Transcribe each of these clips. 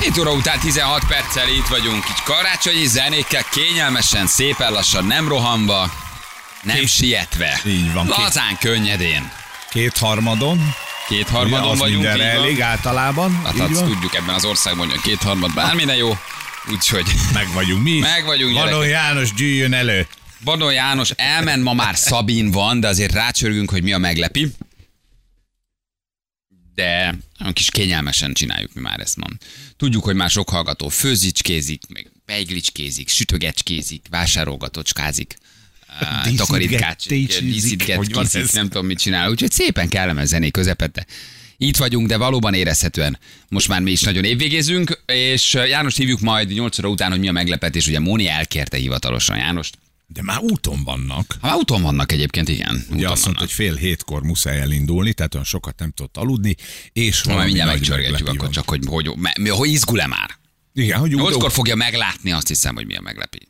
7 óra után 16 perccel itt vagyunk, így karácsonyi zenékkel, kényelmesen, szépen lassan, nem rohanva, nem Két- sietve. Így van, két- Lazán, könnyedén. Kétharmadon. Kétharmadon az vagyunk. mindenre így van. elég általában. Hát így azt van. tudjuk ebben az országban, hogy a kétharmad bármire jó. Úgyhogy Meg vagyunk mi is. Meg vagyunk, Vadon gyerekek. János gyűjjön elő. Badon János elment, ma már Szabin van, de azért rácsörgünk, hogy mi a meglepi. De olyan kis kényelmesen csináljuk mi már ezt ma. Tudjuk, hogy már sok hallgató főzicskézik, meg beiglicskézik, sütögecskézik, vásárolgatocskázik. á, Díszítget- Takarítkát, técsizik, díszítget, hogy van készik, ez? nem tudom mit csinál. Úgyhogy szépen kellemes zené közepette. Itt vagyunk, de valóban érezhetően. Most már mi is nagyon évvégézünk, és eh, Jánost hívjuk majd 8 óra után, hogy mi a meglepetés. Ugye Móni elkérte hivatalosan Jánost. De már úton vannak. Ha már úton Hát vannak egyébként, igen. Ugye úton azt mondta, hát, vannak. hogy fél hétkor muszáj elindulni, tehát olyan sokat nem tudott aludni, és Na, valami majd mindjárt nagy megcsörgetjük, meglepi akkor van. csak, hogy hogy, me- mi- hogy izgul-e már. Igen, hogy úton- Nyolckor fogja meglátni, azt hiszem, hogy mi a meglepi.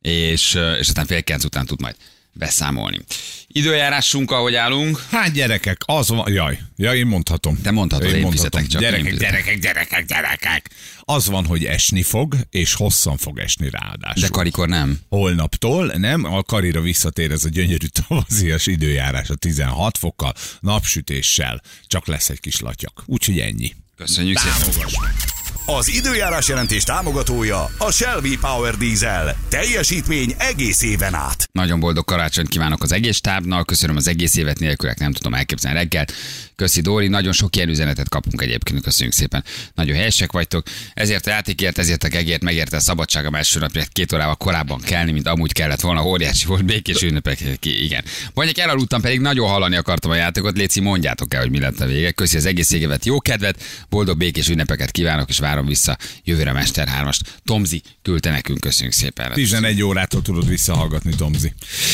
És, ö, és aztán fél kilenc után tud majd beszámolni. Időjárásunk, ahogy állunk. Hát gyerekek, az van, jaj, ja, én mondhatom. Te mondhatod, én fizetek csak, Gyerekek, én fizetek. gyerekek, gyerekek, gyerekek. Az van, hogy esni fog, és hosszan fog esni ráadásul. De karikor nem. Holnaptól, nem? A karira visszatér ez a gyönyörű tavazias időjárás a 16 fokkal, napsütéssel, csak lesz egy kis latyak. Úgyhogy ennyi. Köszönjük szépen. Az időjárás jelentés támogatója a Shelby Power Diesel. Teljesítmény egész éven át. Nagyon boldog karácsonyt kívánok az egész tábnak, köszönöm az egész évet nélkülek, nem tudom elképzelni reggel. Köszi Dóri, nagyon sok ilyen üzenetet kapunk egyébként, köszönjük szépen. Nagyon helyesek vagytok, ezért a játékért, ezért a gegért megérte a szabadság a első napját két órával korábban kelni, mint amúgy kellett volna, óriási volt békés ünnepek, ki- igen. Mondjuk elaludtam, pedig nagyon hallani akartam a játékot, Léci, mondjátok el, hogy mi lett a vége. Köszi az egész évet, jó kedvet, boldog békés ünnepeket kívánok, és várom vissza jövőre a Mester 3-ast. Tomzi küldte nekünk, köszönjük szépen. 11 órától tudod visszahallgatni, Tomzi.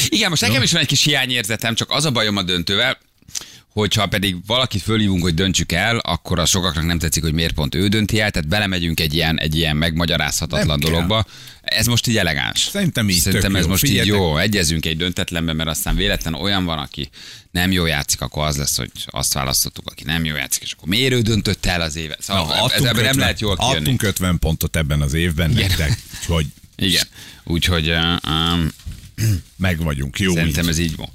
Igen, most nekem is van egy kis hiányérzetem, csak az a bajom a döntővel, hogyha pedig valakit fölhívunk, hogy döntsük el, akkor a sokaknak nem tetszik, hogy miért pont ő dönti el, tehát belemegyünk egy ilyen, egy ilyen megmagyarázhatatlan Nem kell. dologba. Ez most így elegáns. Szerintem így Szerintem tök ez jó. most így Figyeljetek. jó. Egyezünk egy döntetlenbe, mert aztán véletlen olyan van, aki nem jó játszik, akkor az lesz, hogy azt választottuk, aki nem jó játszik, és akkor miért ő döntött el az éve. Szóval Na, ez, ebben nem lehet jól kijönni. adtunk 50 pontot ebben az évben Igen. nektek, hogy Igen. Úgyhogy uh, um, meg vagyunk. Jó szerintem így. ez így van.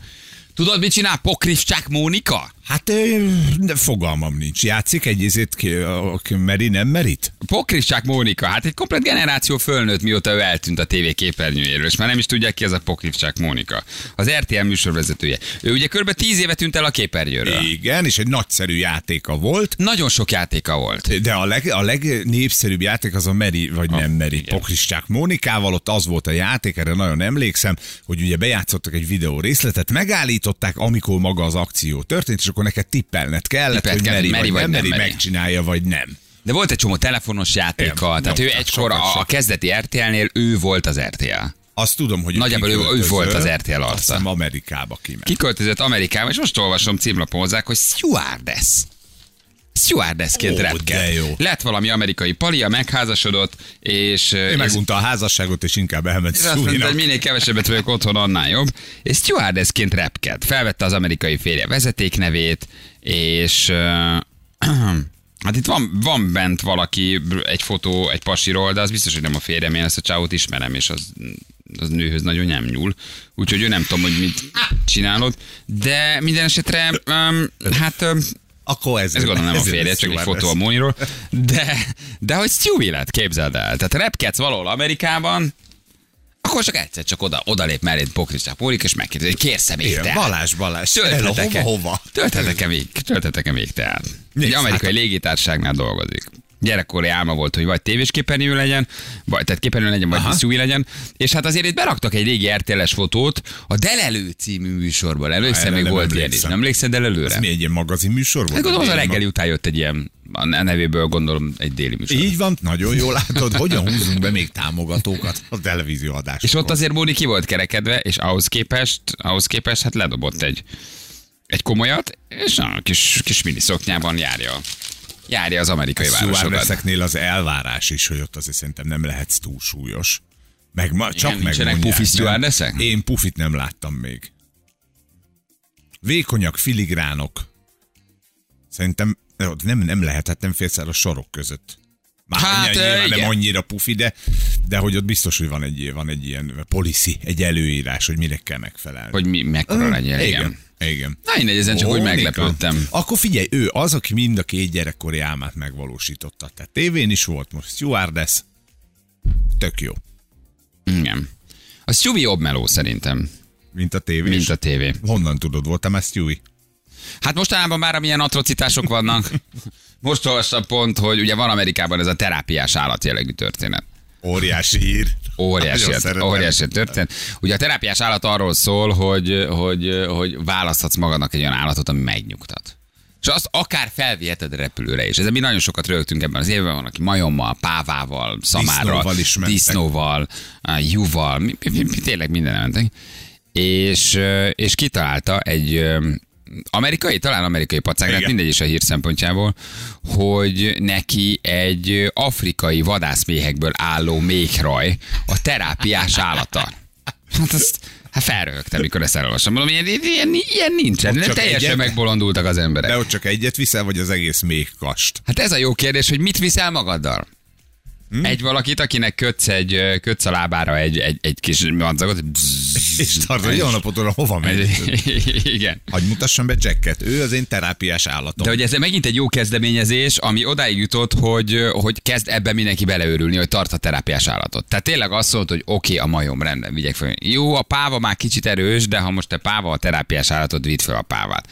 Tudod, mit csinál Pokrifcsák Mónika? Hát ö, de fogalmam nincs. Játszik egy izét, ki- a- ki meri, nem merít? Pokrifcsák Mónika, hát egy komplet generáció fölnőtt, mióta ő eltűnt a tévé képernyőjéről, és már nem is tudják ki ez a Pokrifcsák Mónika. Az RTL műsorvezetője. Ő ugye körbe tíz éve tűnt el a képernyőről. Igen, és egy nagyszerű játéka volt, Nagyon sok játéka volt. de a, leg, a legnépszerűbb játék az a Meri, vagy nem Meri, igen. Pokristák Mónikával, ott az volt a játék, erre nagyon emlékszem, hogy ugye bejátszottak egy videó részletet, megállították, amikor maga az akció történt, és akkor neked tippelned kellett, Tippelt hogy kell, Meri, vagy, nem Meri, Meri. megcsinálja, vagy nem. De volt egy csomó telefonos játéka, Igen, tehát jó, ő tehát egykor sokat a, a sok. kezdeti RTL-nél ő volt az RTL. Azt tudom, hogy Nagyjából ő- ő kiköltözött, volt az RTL arca. azt hiszem Amerikába kiment. Kiköltözött Amerikába, és most olvasom címlapon hozzák, hogy stewardess. Stewardessként Ó, repked. de jó. Lett valami amerikai palia, megházasodott, és... eh, Ő és megunta a házasságot, és inkább elment Ez azt mondta, Szúrinak. hogy minél kevesebbet vagyok otthon, annál jobb. És stewardessként repked. Felvette az amerikai férje vezetéknevét, és... ö, Hát itt van, van bent valaki, egy fotó, egy pasiról, de az biztos, hogy nem a férjem, én ezt a csávot ismerem, és az, az nőhöz nagyon nem nyúl. Úgyhogy ő nem tudom, hogy mit csinálod, de minden esetre, um, hát um, Akkor ez, ez gondolom nem a férje, csak egy fotó a Móniról. De, de hogy Stewie lett, képzeld el. Tehát repkedsz valahol Amerikában, akkor csak egyszer csak oda, odalép melléd Pokricsák Mónik, és megkérdezi, hogy kérsz Igen, még Balázs, Balázs, Töltetek-e? hova, hova? Töltetek-e még, töltetek-e még tehát? Nézd, Egy amerikai hát- légitárságnál dolgozik. Gyerekkori álma volt, hogy vagy tévés képernyő legyen, vagy tehát képernyő legyen, vagy szúvi legyen. És hát azért itt beraktak egy régi RTL-es fotót a Delelő című műsorban. Először erre még nem volt ilyen is. emlékszem. Nem emlékszel Delelőre? Ez mi egy ilyen magazin műsor Hát volt? gondolom, az a Ilyen reggeli után jött egy ilyen, a nevéből gondolom egy déli műsor. mag- Így van, nagyon jól látod, hogyan húzunk be még támogatókat a televízió adásokon. És ott azért Móni ki volt kerekedve, és ahhoz képest, ahhoz képest hát ledobott egy, egy komolyat, és a kis, kis miniszoknyában járja, járja az amerikai városokat. Szuvárveszeknél az elvárás is, hogy ott azért szerintem nem lehetsz túl súlyos. Meg ma, csak nincsenek megmondják. pufi nem? stewardessek? Én pufit nem láttam még. Vékonyak, filigránok. Szerintem ott nem, nem lehet, hát nem félsz el a sorok között. Már Hát, hát, nyilván igen. nem annyira pufi, de, de hogy ott biztos, hogy van egy, van egy ilyen policy, egy előírás, hogy minek kell megfelelni. Hogy mi, mekkora legyen. Hm, igen. Igen. igen. Na, én ezen csak úgy Mónika. meglepődtem. Akkor figyelj, ő az, aki mind a két gyerekkori álmát megvalósította. Tehát tévén is volt most stewardess. Tök jó. Igen. A Stewie jobb meló szerintem, Mint a tévé. mint a tévé. Honnan tudod, voltam már Stewie? Hát mostanában már amilyen atrocitások vannak. Most olvastam pont, hogy ugye van Amerikában ez a terápiás állatjellegű történet. Óriási hír. Óriási, Nagyon szeretem. óriási történet. Ugye a terápiás állat arról szól, hogy, hogy, hogy választhatsz magadnak egy olyan állatot, ami megnyugtat. És azt akár felviheted repülőre is. Ezzel mi nagyon sokat rögtünk ebben az évben, van, aki majommal, pávával, szamárral, Disznóval is mentek. disznóval, á, juval, mi, mi, mi, mi, tényleg minden mentek. És, ö, és kitalálta egy ö, amerikai, talán amerikai pacák, tehát Igen. mindegy is a hír szempontjából, hogy neki egy afrikai vadászméhekből álló méhraj a terápiás állata. Hát azt hát felröhögtem, mikor ezt elolvastam. Mondom, ilyen, ilyen, ilyen nincsen. Ott csak Teljesen egyet? megbolondultak az emberek. De ott csak egyet viszel, vagy az egész méhkast? Hát ez a jó kérdés, hogy mit viszel magaddal? Hmm? Egy valakit, akinek kötsz, egy, ö, kötsz a lábára egy, egy, egy kis madzagot. bzzz, És tartod, hogy jó napot oda, hova megy? egy- Igen. Hagy mutassam be Jacket, ő az én terápiás állatom. De hogy ez megint egy jó kezdeményezés, ami odáig jutott, hogy, hogy kezd ebbe mindenki beleőrülni, hogy tart a terápiás állatot. Tehát tényleg azt szólt, hogy oké, okay, a majom rendben, vigyek fel. Jó, a páva már kicsit erős, de ha most te páva a terápiás állatod, vidd fel a pávát.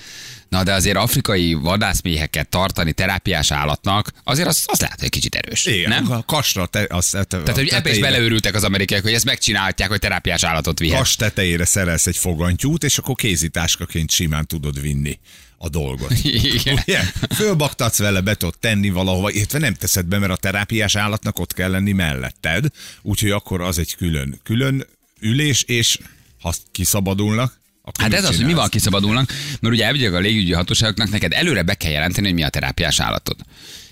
Na de azért afrikai vadászméheket tartani terápiás állatnak, azért az, az lehet, hogy kicsit erős. Igen, nem? a kasra, te, az, Tehát, hogy ebbe is beleőrültek az amerikaiak, hogy ezt megcsinálták, hogy terápiás állatot vihet. Kas tetejére szerelsz egy fogantyút, és akkor kézitáskaként simán tudod vinni a dolgot. Igen. Ugye? Fölbaktatsz vele, be tudod tenni valahova, illetve nem teszed be, mert a terápiás állatnak ott kell lenni melletted, úgyhogy akkor az egy külön, külön ülés, és ha kiszabadulnak, akkor Hát mit ez az, hogy mi csinálsz? van, kiszabadulnak, mert ugye elvigyek a légügyi hatóságoknak, neked előre be kell jelenteni, hogy mi a terápiás állatod.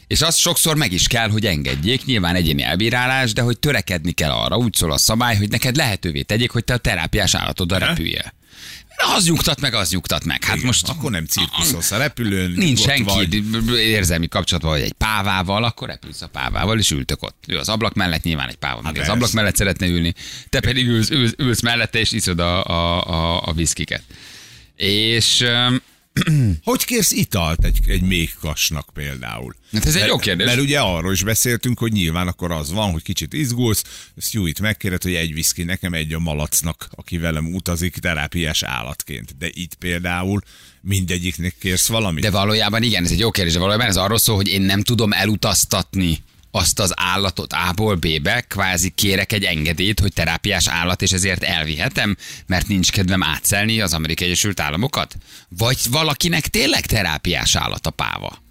És azt sokszor meg is kell, hogy engedjék, nyilván egyéni elbírálás, de hogy törekedni kell arra, úgy szól a szabály, hogy neked lehetővé tegyék, hogy te a terápiás állatoddal repüljél. Na, Az nyugtat meg, az nyugtat meg. Hát Igen, most Akkor nem cirkuszolsz a repülőn. nincs nyugodt senki vagy. d- b- b- érzelmi kapcsolatban, vagy egy pávával, akkor repülsz a pávával, és ültök ott. Ő az ablak mellett, nyilván egy páva hát az persze. ablak mellett szeretne ülni, te pedig ülsz, ülsz, ülsz mellette, és iszod a, a, a, a viszkiket. És öm, Hogy kérsz italt egy, egy méhkasnak például? hát ez egy Mert- jó kérdés. Mert ugye arról is beszéltünk, hogy nyilván akkor az van, hogy kicsit izgulsz, Stewie-t megkéred, hogy egy viszki nekem, egy a malacnak, aki velem utazik terápiás állatként. De itt például mindegyiknek kérsz valamit. De valójában igen, ez egy jó kérdés, de valójában ez arról szól, hogy én nem tudom elutaztatni azt az állatot A-ból B-be, kvázi kérek egy engedélyt, hogy terápiás állat, és ezért elvihetem, mert nincs kedvem átszelni az Amerikai Egyesült Államokat? Vagy valakinek tényleg terápiás állat a páva?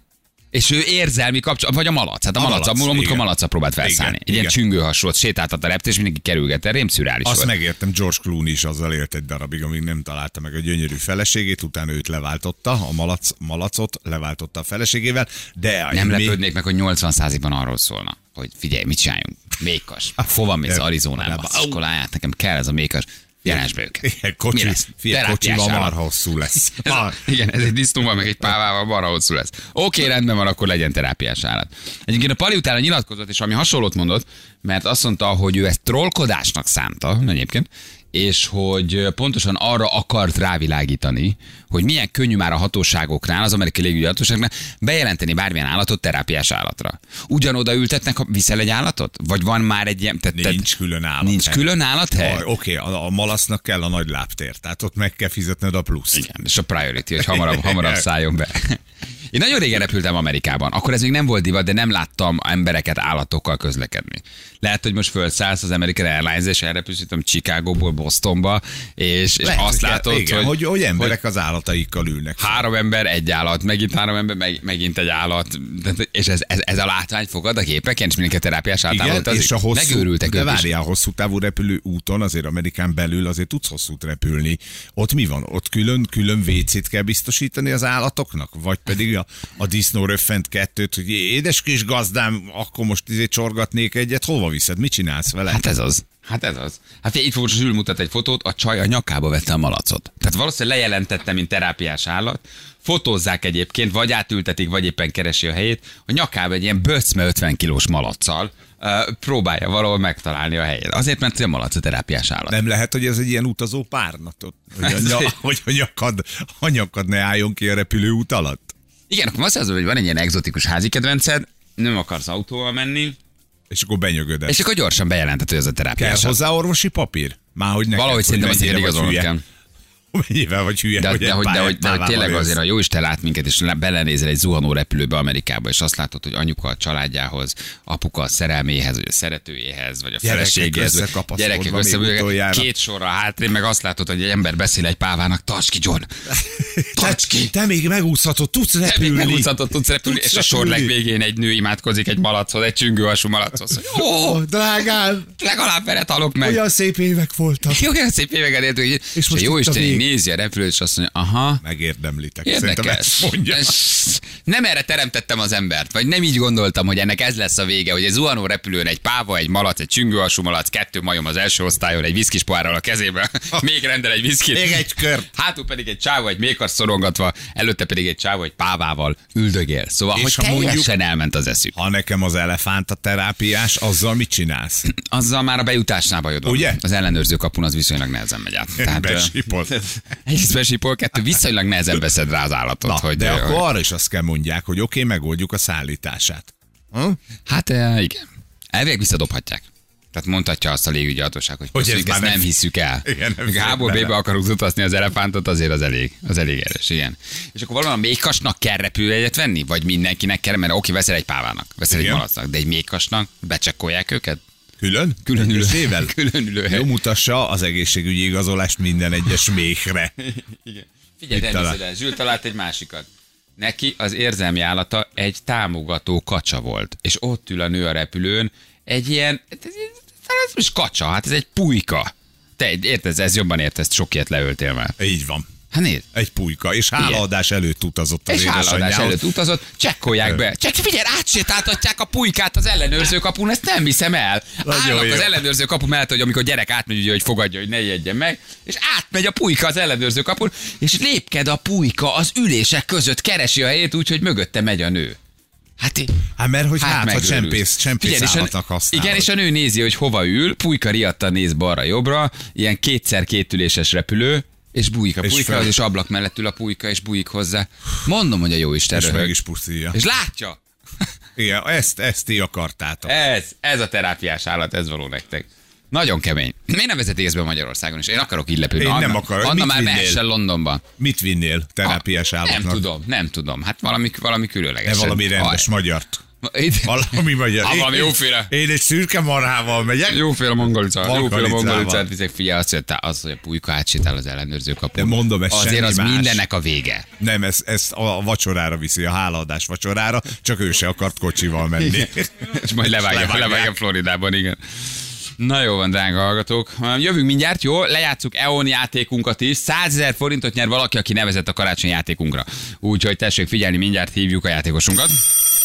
És ő érzelmi kapcsolat, vagy a malac. Hát a, a malac, malac, malac amikor igen. malaca próbált felszállni. Igen, Egy ilyen igen. csüngő hasonlót sétáltat a rept, és mindenki kerülgette, rém szürreális Azt volt. megértem, George Clooney is azzal élt egy darabig, amíg nem találta meg a gyönyörű feleségét, utána őt leváltotta, a malac, malacot leváltotta a feleségével, de a Nem még- lepődnék meg, hogy 80 ban arról szólna, hogy figyelj, mit csináljunk? Mékas. Hát, Hova mész De- Arizonába? Au. Iskoláját, nekem kell ez a mékas. Jelensd be Igen, őket. Mi kocsi, lesz? fia, Terápiás kocsival állat. marha hosszú lesz. Ez a, igen, ez egy disznóval, meg egy pávával marha hosszú lesz. Oké, rendben van, akkor legyen terápiás állat. Egyébként a Pali utána nyilatkozott, és ami hasonlót mondott, mert azt mondta, hogy ő ezt trollkodásnak szánta, egyébként, és hogy pontosan arra akart rávilágítani, hogy milyen könnyű már a hatóságoknál, az amerikai légügyi hatóságnál bejelenteni bármilyen állatot terápiás állatra. Ugyanoda ültetnek, ha viszel egy állatot? Vagy van már egy ilyen... Te, te, Nincs külön állat. nincs külön állathely? Aj, Oké, a, a malasznak kell a nagy lábtér, tehát ott meg kell fizetned a pluszt. Igen. Igen, és a priority, hogy hamarabb, hamarabb szálljon be. Én nagyon régen repültem Amerikában, akkor ez még nem volt divat, de nem láttam embereket állatokkal közlekedni. Lehet, hogy most felszállsz az American Airlines, és elrepülsz, nem tudom, Chicagóból Bostonba, és, és azt látod, igen, hogy, Hát, hogy, hogy emberek az állataikkal ülnek. három ember, egy állat, megint három ember, meg, megint egy állat, Tehát- és ez, ez, ez a látvány fogad a képeken, és mindenki a terápiás igen, általában és a hosszú, hát megőrültek de ők is. várjál, hosszú távú repülő úton, azért Amerikán belül azért tudsz hosszút repülni. Ott mi van? Ott külön, külön WC-t kell biztosítani az állatoknak? Vagy pedig a, a disznó röffent kettőt, hogy édes kis gazdám, akkor most izé csorgatnék egyet, hova viszed? Mit csinálsz vele? Hát ez az. Hát ez az. Hát figyelj, itt fogos Zsül mutat egy fotót, a csaj a nyakába vette a malacot. Tehát valószínűleg lejelentette, mint terápiás állat. Fotózzák egyébként, vagy átültetik, vagy éppen keresi a helyét. A nyakába egy ilyen böcme 50 kilós malaccal ö, próbálja valahol megtalálni a helyét. Azért, mert a malac a terápiás állat. Nem lehet, hogy ez egy ilyen utazó párnatot, hogy, a, Ez nya, egy- hogy a, nyakad, a nyakad ne álljon ki a repülőút alatt. Igen, akkor azt mondod, hogy van egy ilyen egzotikus házi kedvenced, nem akarsz autóval menni, És akkor benyögöd és akkor gyorsan bejelentett, hogy ez a Kell terápiás. állat. hozzá orvosi papír? Már hogy neked, Valahogy hogy szerintem az mennyire ilyen vagy igazolnod hülye. kell. Mennyivel vagy hülye, De, hogy hogy, de, egy pályán hogy, de, hogy, de hogy pálával tényleg jössz. azért a Jóisten lát minket, és le- belenézel egy zuhanó repülőbe Amerikába, és azt látod, hogy anyuka a családjához, apuka a szerelméhez, vagy a szeretőjéhez, vagy a Gyerekek feleségéhez, vagy- összekapaszkodva gyerekek még össze, utoljára. két sorra hátrébb, meg azt látod, hogy egy ember beszél egy pávának, tarts ki John, tarts ki, Te még megúszhatod, tudsz te még repülni. megúszhatod, tudsz repülni, Tudsz és a sor repülni. legvégén egy nő imádkozik egy malachoz, egy csüngőhasú malachoz, hogy ó, Ó, drágám, legalább veret halok meg. olyan szép évek voltak. Jó, olyan szép éveket éltünk, így- és, most a jó itt a Isten így vég. nézi a repülőt, és azt mondja, aha, Megérdemlitek. Szerintem Érdekes. ezt mondja. Ez- Nem erre teremtettem az embert, vagy nem így gondoltam, hogy ennek ez lesz a vége, hogy egy zuhanó repülőn egy páva, egy malac, egy csüngőalsú malac, kettő majom az első osztályon, egy viszkis pohárral a kezében, még rendel egy viszkit. Még egy kört. Hátul pedig egy csávó, egy mékar szorongatva, előtte pedig egy csávó, egy pávával üldögél. Szóval, És hogy ha teljesen mondjuk- elment az eszük. Ha nekem az elefánt a terápiás, azzal mit csinálsz? Azzal már a bejutásnál bajod van. Ugye? Az ellenőrző kapun az viszonylag nehezen megy át. Tehát, ö, Besipol. egyrészt besipol, kettő viszonylag nehezen veszed rá az állatot. Na, hogy, de ö, akkor arra is azt kell mondják, hogy oké, okay, megoldjuk a szállítását. Hm? Hát eh, igen. Elvileg visszadobhatják. Tehát mondhatja azt a légügyi hatóság, hogy, hogy Hogy ez ezt, már nem, nem nem- hiszük el. Igen, nem Még fér Hából bele. B-be akarunk zutaszni az elefántot, azért az elég, az elég erős, igen. És akkor valami méhkasnak kell repülőjegyet venni? Vagy mindenkinek kell, mert oké, veszel egy pávának, veszel egy Igen. malacnak, de egy méhkasnak becsekkolják őket? Külön? Különülő, Egyesével? különülő hely. Jó mutassa az egészségügyi igazolást minden egyes méhre. Igen. Figyelj, Mit nem talál? hiszed el. Zsül talált egy másikat. Neki az érzelmi állata egy támogató kacsa volt, és ott ül a nő a repülőn, egy ilyen, ez, ez, ez most kacsa, hát ez egy pulyka. Te egy- érted, ez jobban értesz, sok ilyet leöltél már. Így van. Hát nézd, Egy pulyka, és Igen. hálaadás előtt utazott az és háladás édesanyjához. előtt utazott, csekkolják be. Csak figyelj, átsétáltatják a pulykát az ellenőrző kapun, ezt nem hiszem el. Nagyon Állok jó. az ellenőrző kapu mellett, hogy amikor gyerek átmegy, ugye, hogy fogadja, hogy ne ijedjen meg, és átmegy a pulyka az ellenőrző kapun, és lépked a pulyka az ülések között, keresi a helyét úgy, hogy mögötte megy a nő. Hát, i- Hát mert hogy hát, hát ha megőrülsz. csempész, csempész Figyelj, és a- állatnak használod. Igen, és a nő nézi, hogy hova ül, pulyka riadta néz balra-jobbra, ilyen kétszer kétüléses repülő, és bújik a És pulyka, fel. az is ablak mellett ül a pulyka, és bújik hozzá. Mondom, hogy a jó Isten és meg röhög. is puszilja. És látja, Igen, ezt, ezt ti akartátok. ez, ez a terápiás állat, ez való nektek. Nagyon kemény. Miért nem vezetik ezt be Magyarországon is? Én akarok így lepülni. Én Anna, nem akarok. Anna Mit már vinnél? mehessen Londonba. Mit vinnél terápiás Ah, állatnak? Nem tudom, nem tudom. Hát valami, valami De különleges. valami rendes magyart. Valami magyar. Hát Én- valami én- jóféle. Én egy szürke marhával megyek. Jóféle mongolicát, jóféle Mongolicával. mongolicát viszek, figyelj, azt, hogy, tá- az, hogy a pulyka átsétál az ellenőrző kapun. De mondom, ez Azért semmi az más. mindennek a vége. Nem, ezt, ezt a vacsorára viszi, a hálaadás vacsorára, csak ő se akart kocsival menni. És majd levágja, levágják. levágja Floridában, igen. Na jó van, drága hallgatók. Hm, Jövünk mindjárt, jó? Lejátszuk EON játékunkat is. 100 ezer forintot nyer valaki, aki nevezett a karácsony játékunkra. Úgyhogy tessék figyelni, mindjárt hívjuk a játékosunkat.